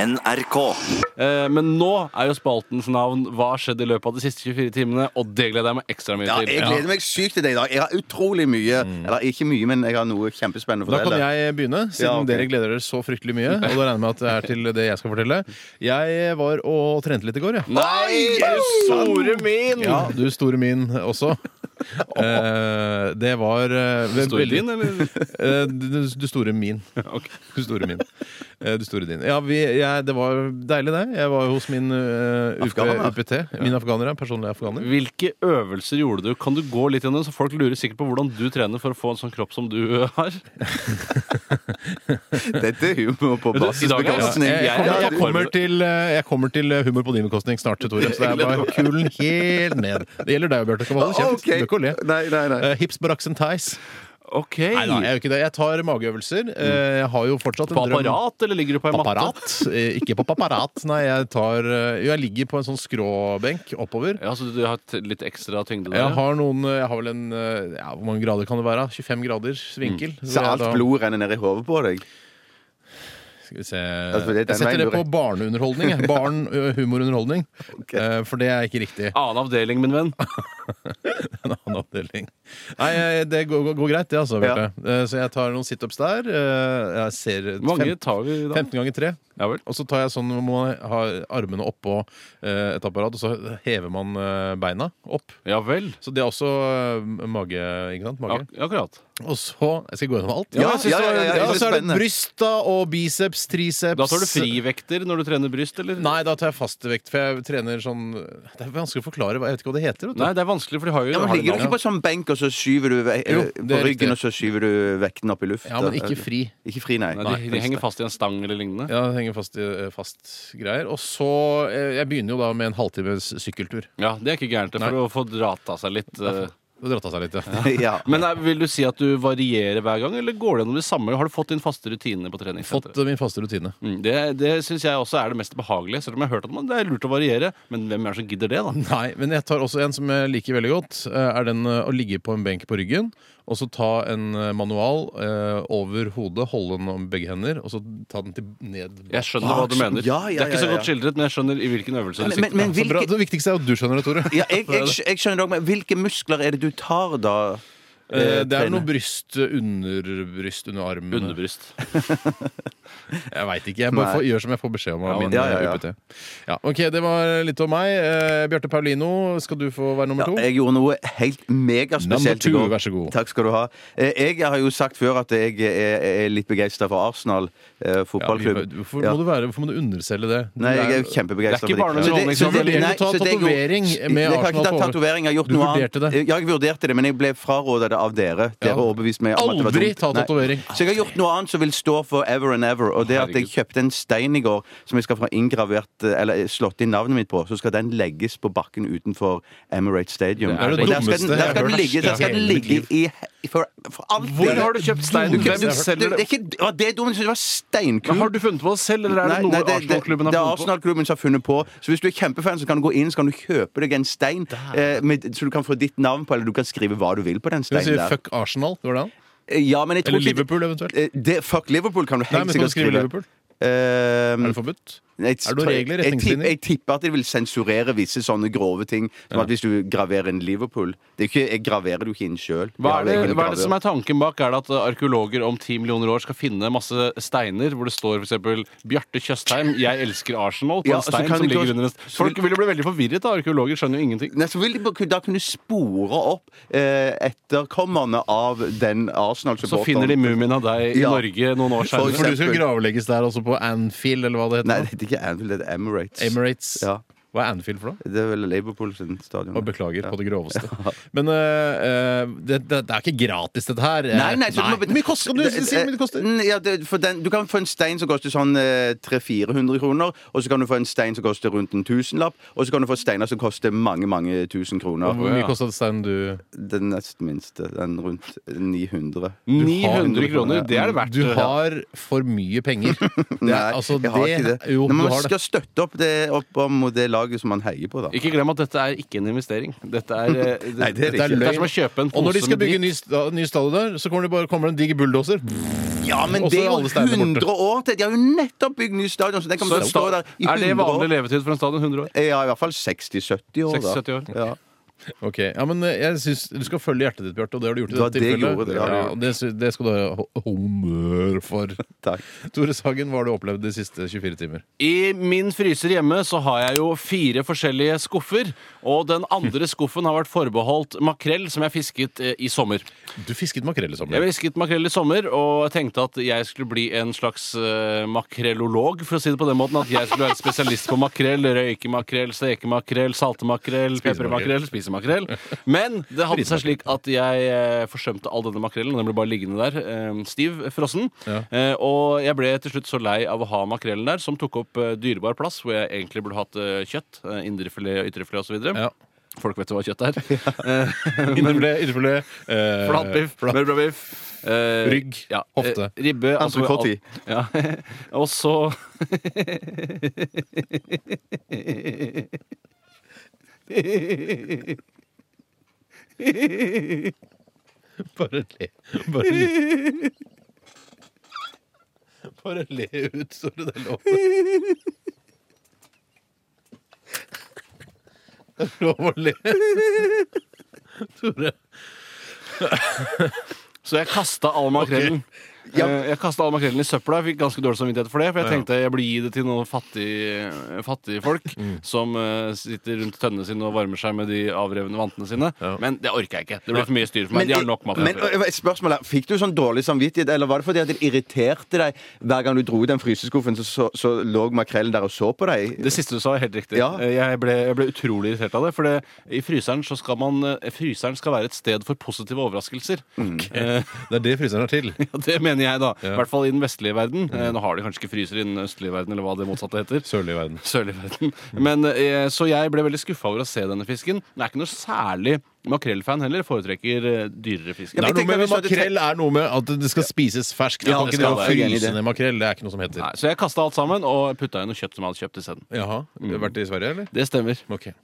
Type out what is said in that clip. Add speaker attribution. Speaker 1: NRK.
Speaker 2: Eh, men nå er jo spaltens navn Hva skjedde i løpet av de siste 24 timene? Og det gleder jeg meg ekstra mye
Speaker 1: Ja,
Speaker 2: til.
Speaker 1: jeg gleder meg sykt til det i dag. Jeg har utrolig mye Eller ikke mye, men jeg har noe kjempespennende å
Speaker 3: Da kan
Speaker 1: fortelle.
Speaker 3: jeg begynne, siden
Speaker 1: Ja, ok.
Speaker 3: dere gleder dere så fryktelig mye. Og da regner jeg med at det er til det jeg skal fortelle. Jeg var og trente litt i går, jeg.
Speaker 2: Nei, du store min!
Speaker 3: Ja, du store min også. Eh, det var eh, ve-
Speaker 2: Store
Speaker 3: veldig-
Speaker 2: din, eller?
Speaker 3: Eh, du, du store min.
Speaker 2: Ok.
Speaker 3: Du store min. Eh, du store din. Ja, vi, jeg, det var deilig, det. Jeg var hos min eh, UP,
Speaker 1: Afghaner, da.
Speaker 3: UPT. Min afghaner, ja. Personlig afghaner.
Speaker 2: Hvilke øvelser gjorde du? Kan du gå litt gjennom, så folk lurer sikkert på hvordan du trener for å få en sånn kropp som du har?
Speaker 1: Dette er humor på
Speaker 2: du, i dag er jeg-
Speaker 1: basisbekostning.
Speaker 3: Eh, Jeg, jeg,
Speaker 1: Ja,
Speaker 3: kommer-
Speaker 1: ja,
Speaker 3: jeg,
Speaker 1: du-
Speaker 3: kommer til, eh, jeg kommer til humor på din bekostning snart, Tore. Så det er bare kulen helt ned. Det gjelder deg, Bjarte. Kom, hold kjeft. Du
Speaker 1: Ok.
Speaker 3: behøver ikke å le.
Speaker 1: Nei, nei, nei.
Speaker 3: Eh, Hips, baraks and ties.
Speaker 2: Ok.
Speaker 3: Nei da, jeg gjør ikke det. Jeg tar mageøvelser. Eh, Jeg har jo fortsatt en
Speaker 2: Mm. På
Speaker 3: drøm
Speaker 2: apparat, eller ligger du på ei matte?
Speaker 3: Apparat? Eh, Ikke på paparat. Nei, jeg tar eh, Jo, jeg ligger på en sånn skråbenk oppover.
Speaker 2: Ja, så du har t- litt ekstra tyngde der?
Speaker 3: Jeg
Speaker 2: ja?
Speaker 3: har noen Jeg har vel en eh, ja, Hvor mange grader kan det være? 25 graders vinkel.
Speaker 2: Mm.
Speaker 1: Så
Speaker 3: jeg
Speaker 1: alt
Speaker 3: da-
Speaker 1: blod renner ned i hodet på deg?
Speaker 3: Skal vi se
Speaker 1: for det er den
Speaker 3: Jeg
Speaker 1: veien
Speaker 3: setter det
Speaker 1: du
Speaker 3: på
Speaker 1: rekker.
Speaker 3: barneunderholdning. jeg. Barn, ø, humorunderholdning.
Speaker 1: Ok.
Speaker 3: Eh, For det er ikke riktig.
Speaker 2: Annen avdeling, min venn.
Speaker 3: en annen avdeling. Nei, eh, det går, går, går greit, det, altså. Bjarte. Eh, Så jeg tar noen situps der. eh, Jeg ser
Speaker 2: Hvor mange
Speaker 3: fem,
Speaker 2: tar vi da?
Speaker 3: 15 ganger 3.
Speaker 2: Ja vel.
Speaker 3: Og så tar jeg sånn hvor man har armene oppå eh, et apparat, og så hever man eh, beina opp.
Speaker 2: Ja vel.
Speaker 3: Så det er også eh, mage, ikke sant?
Speaker 2: Ja,
Speaker 3: Mage.
Speaker 2: akkurat.
Speaker 3: Og så Jeg skal gå gjennom alt.
Speaker 2: Ja, jeg synes
Speaker 1: ja,
Speaker 2: det var-
Speaker 1: ja, ja, ja,
Speaker 3: Ja,
Speaker 1: det er
Speaker 3: så er det
Speaker 1: spennende.
Speaker 3: bryst da, og biceps, triceps
Speaker 2: Da tar du frivekter når du trener bryst, eller?
Speaker 3: Nei, da tar jeg fastvekt, for jeg trener sånn Det er vanskelig å forklare, hva- jeg vet ikke hva det heter. Vet du.
Speaker 2: Nei, det er vanskelig, for de har jo
Speaker 1: Ja, men
Speaker 2: har de
Speaker 1: ligger du
Speaker 2: navn.
Speaker 1: ikke på sånn benk, og så skyver du ve-
Speaker 3: Jo,
Speaker 1: eh,
Speaker 3: det
Speaker 1: på
Speaker 3: er riktig.
Speaker 1: ryggen, og så skyver du vekten opp i lufta?
Speaker 3: Ja, men ikke fri.
Speaker 1: Ikke fri, nei.
Speaker 2: Nei, de, de henger fast i en stang eller lignende.
Speaker 3: Ja, det henger fast i eh, fast greier. Og så eh, Jeg begynner jo da med en halvtimes sykkeltur.
Speaker 2: Ja, Det er ikke gærent det, for å få drata seg litt. eh.
Speaker 3: Det dratt av seg litt, ja.
Speaker 1: Ja.
Speaker 2: Men eh, Vil du si at du varierer hver gang, eller går det gjennom det samme? Har du fått din faste rutine på
Speaker 3: Fått
Speaker 2: treningssenteret?
Speaker 3: eh, min faste rutine.
Speaker 2: Mm, det det syns jeg også er det mest behagelige. Selv om jeg har hørt at man, det er lurt å variere. Men hvem er det som gidder det, da?
Speaker 3: Nei, men jeg tar også en som jeg liker veldig godt. eh, Er den eh, å ligge på en benk på ryggen, og så ta en eh, manual eh, over hodet, holde den om begge hender, og så ta den til ned.
Speaker 2: Jeg skjønner hva du mener.
Speaker 1: Ja, ja,
Speaker 2: det er ikke
Speaker 1: ja,
Speaker 2: så
Speaker 1: ja.
Speaker 2: godt skildret, men jeg skjønner i hvilken øvelse du
Speaker 1: Men,
Speaker 2: sikter.
Speaker 1: men
Speaker 3: Så bra.
Speaker 1: hvilke,
Speaker 3: Det viktigste er jo at du skjønner det, Tore.
Speaker 1: ja, jeg, jeg, skj- jeg skjønner dog, men hvilke muskler er det du tar da?
Speaker 3: Eh, Det er
Speaker 1: Trene.
Speaker 3: noe bryst, underbryst, under armen
Speaker 2: Underbryst.
Speaker 3: Jeg veit ikke. Jeg bare får, gjør som jeg får beskjed om av
Speaker 2: Ja,
Speaker 3: min eh,
Speaker 1: ja, ja, ja.
Speaker 3: UPT. Ja, ok, det var litt om meg. Eh, Bjarte Paulino, skal du få være nummer
Speaker 1: Ja,
Speaker 3: to?
Speaker 1: jeg gjorde noe helt megaspesielt
Speaker 3: Number two,
Speaker 1: i går.
Speaker 3: vær så god.
Speaker 1: Takk skal du ha. Eh, Jeg har jo sagt før at jeg er, er litt begeistra for Arsenal eh,
Speaker 3: Ja, vi-
Speaker 1: fotballklubb.
Speaker 3: hvorfor,
Speaker 1: Ja.
Speaker 3: Må du være, hvorfor må du underselge det?
Speaker 1: Nei, jeg er jo
Speaker 2: Det
Speaker 1: kjempebegeistra
Speaker 2: er ikke
Speaker 1: for
Speaker 2: barne-
Speaker 1: dem. Så
Speaker 2: underholdning,
Speaker 1: så
Speaker 2: så du
Speaker 3: vurderte
Speaker 1: nei,
Speaker 3: å ta
Speaker 1: så det jeg gjorde-
Speaker 3: tatovering med
Speaker 1: Jeg har
Speaker 3: Arsenal
Speaker 1: ikke tatt
Speaker 3: på-
Speaker 1: tatovering, jeg har gjort
Speaker 3: Du
Speaker 1: noe
Speaker 3: vurderte
Speaker 1: annet.
Speaker 3: det.
Speaker 1: Ja, jeg vurderte det, men jeg ble fraråda det av dere. Dere
Speaker 3: Ja.
Speaker 1: overbeviste meg om at det var
Speaker 3: Aldri
Speaker 1: dumt.
Speaker 3: ta
Speaker 1: Nei.
Speaker 3: tatovering.
Speaker 1: Så jeg har gjort noe annet som vil stå forever and ever, og det er at jeg kjøpte en stein i går som jeg skal få inngravert, eh, eller slått inn navnet mitt på, så skal den legges på bakken utenfor Emirates Stadium.
Speaker 3: Det er det
Speaker 1: Og der skal
Speaker 3: dummeste
Speaker 1: den,
Speaker 3: jeg
Speaker 1: der
Speaker 3: har
Speaker 1: skal den
Speaker 3: hørt.
Speaker 1: ligge, der skal den
Speaker 3: Hele mitt
Speaker 1: ligge i for, for alltid.
Speaker 2: Hvor har du kjøpt steinen?
Speaker 3: Dummeste
Speaker 2: Hvem
Speaker 3: jeg har hørt.
Speaker 1: Det,
Speaker 2: selger
Speaker 1: det, er
Speaker 2: det?
Speaker 1: ikke, det var det dumme, det var steinkul.
Speaker 2: Men Har du funnet på det selv, eller er det noe Arsenal-klubben
Speaker 1: det
Speaker 2: har funnet
Speaker 1: er
Speaker 2: på?
Speaker 1: Arsenal-klubben som har funnet på. Så hvis du er kjempefan, så kan du gå inn Så kan du kjøpe deg en stein eh, med, så du kan få ditt navn på, eller du kan skrive hva du vil på den
Speaker 3: Du
Speaker 1: steinen
Speaker 3: sier
Speaker 1: der.
Speaker 3: fuck Arsenal, går det an?
Speaker 1: Eh, Ja, men jeg tror
Speaker 3: Eller
Speaker 1: ikke-
Speaker 3: Liverpool eventuelt?
Speaker 1: Eh, Det, fuck Liverpool kan du
Speaker 3: Nei,
Speaker 1: helt
Speaker 3: men skal du
Speaker 1: sikkert
Speaker 3: skrive
Speaker 1: skrive.
Speaker 3: Liverpool? Er det forbudt?
Speaker 1: Er
Speaker 3: det noen regler, retningslinjer?
Speaker 1: Jeg, tipper at de vil sensurere visse sånne grove ting. Som at hvis du graverer inn Liverpool det er ikke, Jeg graverer det jo ikke inn sjøl.
Speaker 2: Hva er, det, hva er det som er tanken bak? Er det at arkeologer om ti millioner år skal finne masse steiner hvor det står f.eks. Bjarte Tjøstheim, 'Jeg elsker Arsenal' på
Speaker 1: Ja,
Speaker 2: en
Speaker 1: så
Speaker 2: stein
Speaker 1: kan
Speaker 2: som
Speaker 1: det ikke
Speaker 2: ligger
Speaker 1: også-
Speaker 2: under en st- Folk vil jo bli veldig forvirret av arkeologer, skjønner jo ingenting.
Speaker 1: Nei, så vil de bare- da kunne spore opp eh, etterkommerne av den
Speaker 2: Så
Speaker 1: Arsenal-supporteren.
Speaker 2: finner de mumien av deg i
Speaker 1: Ja.
Speaker 2: Norge noen år
Speaker 1: For-
Speaker 2: senere.
Speaker 3: For du skal gravlegges der også, på Anfield, eller hva det
Speaker 1: Nei,
Speaker 3: heter?
Speaker 1: det er ikke Anfield, det er Emirates.
Speaker 3: Emirates.
Speaker 1: Ja.
Speaker 3: Hva er Anfield for noe?
Speaker 1: Det er vel Liverpool sin stadion.
Speaker 3: Og beklager på det groveste. Men eh, eh, det, det, det er ikke gratis, dette her. Eh,
Speaker 1: Nei, nei, så du må
Speaker 3: Hvor mye koster det? Du sier hvor mye det koster.
Speaker 1: Mm, Ja, det, for den, du kan få en stein som koster sånn eh, 300-400 kroner, og så kan du få en stein som koster rundt en tusenlapp, og så kan du få steiner som koster mange, mange tusen kroner.
Speaker 3: Hvor mye kosta steinen du
Speaker 1: Den nest minste, den rundt 900.
Speaker 2: 900 kroner, det er det verdt.
Speaker 3: Du har for mye penger. Det er,
Speaker 1: Nei,
Speaker 3: altså,
Speaker 1: jeg har
Speaker 3: det-
Speaker 1: ikke det.
Speaker 3: Jo,
Speaker 1: Når
Speaker 3: du
Speaker 1: man
Speaker 3: har det.
Speaker 1: skal støtte opp, det, opp om det laget som man heier på, da.
Speaker 2: Ikke glem at dette er ikke en investering. Dette er, eh, det,
Speaker 1: Nei, det er det
Speaker 2: dette
Speaker 1: ikke.
Speaker 2: Det er som å kjøpe en pose
Speaker 3: Og når de skal
Speaker 2: med
Speaker 3: bygge
Speaker 2: dritt.
Speaker 3: ny, sta- ny stadion der, så kommer det bare kommer det en diger bulldoser.
Speaker 1: Ja, men
Speaker 3: Og så
Speaker 1: det er
Speaker 3: er
Speaker 1: jo
Speaker 3: alle steinene
Speaker 1: 100
Speaker 3: borte.
Speaker 1: år til! De har jo nettopp bygd ny stadion, så den
Speaker 2: Så
Speaker 1: kommer til å stå
Speaker 2: sta-
Speaker 1: der i
Speaker 2: Er det
Speaker 1: 100
Speaker 2: vanlig
Speaker 1: år.
Speaker 2: levetid for en stadion? 100 år?
Speaker 1: Ja, i hvert fall 60-70 år, da.
Speaker 2: 60-70 år.
Speaker 1: Ja.
Speaker 3: Ok, ja, men eh, jeg synes, Du skal følge hjertet ditt, Bjarte, og det har du gjort i
Speaker 1: Det var
Speaker 3: dette
Speaker 1: det jeg
Speaker 3: tilfellet.
Speaker 1: gjorde, det har
Speaker 3: ja,
Speaker 1: jeg
Speaker 3: og det, sy- det skal du ha ho- honnør for.
Speaker 1: Takk.
Speaker 3: Tore Sagen, hva har du opplevd de siste 24 timer?
Speaker 2: I min fryser hjemme så har jeg jo fire forskjellige skuffer. Og den andre skuffen har vært forbeholdt makrell som jeg fisket eh, i sommer.
Speaker 3: Du fisket makrell i sommer.
Speaker 2: Jeg fisket makrell i sommer og jeg tenkte at jeg skulle bli en slags eh, makrellolog, for å si det på den måten. At jeg skulle være spesialist på makrell. Røyke makrell, steke makrell, salte makrell, pepre makrell, spise makrell. Men det hadde seg slik at jeg eh, forsømte all denne makrellen. og Den ble bare liggende der, eh, stiv, frossen. Eh, og jeg ble til slutt så lei av å ha makrellen der, som tok opp eh, dyrebar plass, hvor jeg egentlig burde hatt eh, kjøtt. eh, Indrefilet og ytrefilet osv.
Speaker 3: Ja.
Speaker 2: Folk vet jo hva kjøtt er.
Speaker 3: Indrefilet, ytterfilet, eh,
Speaker 2: Flatbiff,
Speaker 3: flat-
Speaker 2: mørbrabiff. eh,
Speaker 3: Rygg,
Speaker 2: ja,
Speaker 3: hofte.
Speaker 2: eh, Ribbe. altså,
Speaker 1: Entrecôte i.
Speaker 2: alt- Ja. Og så
Speaker 3: Bare le. Bare le. Bare le ut, Tore. Det er lov. Det er lov å le. Tore.
Speaker 2: Så jeg kasta all makrellen.
Speaker 1: Ja.
Speaker 2: Eh, Jeg kastet all makrellen i søpla. Jeg fikk ganske dårlig samvittighet for det. For jeg tenkte jeg burde gi det til noen fattige, fattige folk
Speaker 1: Mm.
Speaker 2: som eh, sitter rundt tønnene sine og varmer seg med de avrevne vantene sine. Men det orka jeg ikke. Det ble for mye styr for meg. de har nok mat.
Speaker 1: men ø, et spørsmål her. Fikk du sånn dårlig samvittighet, eller var det fordi at det irriterte deg hver gang du dro i den fryseskuffen, så, så, så lå makrellen der og så på deg?
Speaker 2: Det siste du sa, er helt riktig.
Speaker 1: Ja.
Speaker 2: Eh, Jeg, ble, jeg ble utrolig irritert av det. For det, i fryseren så skal man eh, Fryseren skal være et sted for positive overraskelser.
Speaker 1: Mm.
Speaker 2: Eh,
Speaker 3: Det er det fryseren er til.
Speaker 2: ja, det mener jeg, da.
Speaker 3: Ja.
Speaker 2: I hvert fall i den vestlige
Speaker 1: Mm.
Speaker 2: verden. Eh, Nå har de kanskje ikke fryser i den østlige verden, eller hva det motsatte heter.
Speaker 3: Sørlig verden.
Speaker 2: Sørlige verden. Men, eh, så jeg ble veldig skuffa over å se denne fisken. Den er ikke noe særlig makrellfan heller. Foretrekker eh, dyrere fisk.
Speaker 1: Ja, men
Speaker 3: Det er noe
Speaker 1: tenker
Speaker 3: med,
Speaker 1: hvis du hadde
Speaker 3: makrell er noe med at det skal spises ferskt.
Speaker 2: Ja,
Speaker 3: Ja, kan
Speaker 2: det
Speaker 3: ikke
Speaker 2: skal
Speaker 3: drive og
Speaker 2: det. Jeg er
Speaker 1: enig i
Speaker 3: fryse
Speaker 1: det.
Speaker 3: ned makrell. Det er ikke noe som heter.
Speaker 2: Nei, så jeg kasta alt sammen og putta inn noe kjøtt som jeg hadde kjøpt isteden.
Speaker 3: Jaha. Du har vært i Sverige, eller?
Speaker 2: Det stemmer.
Speaker 3: Ok.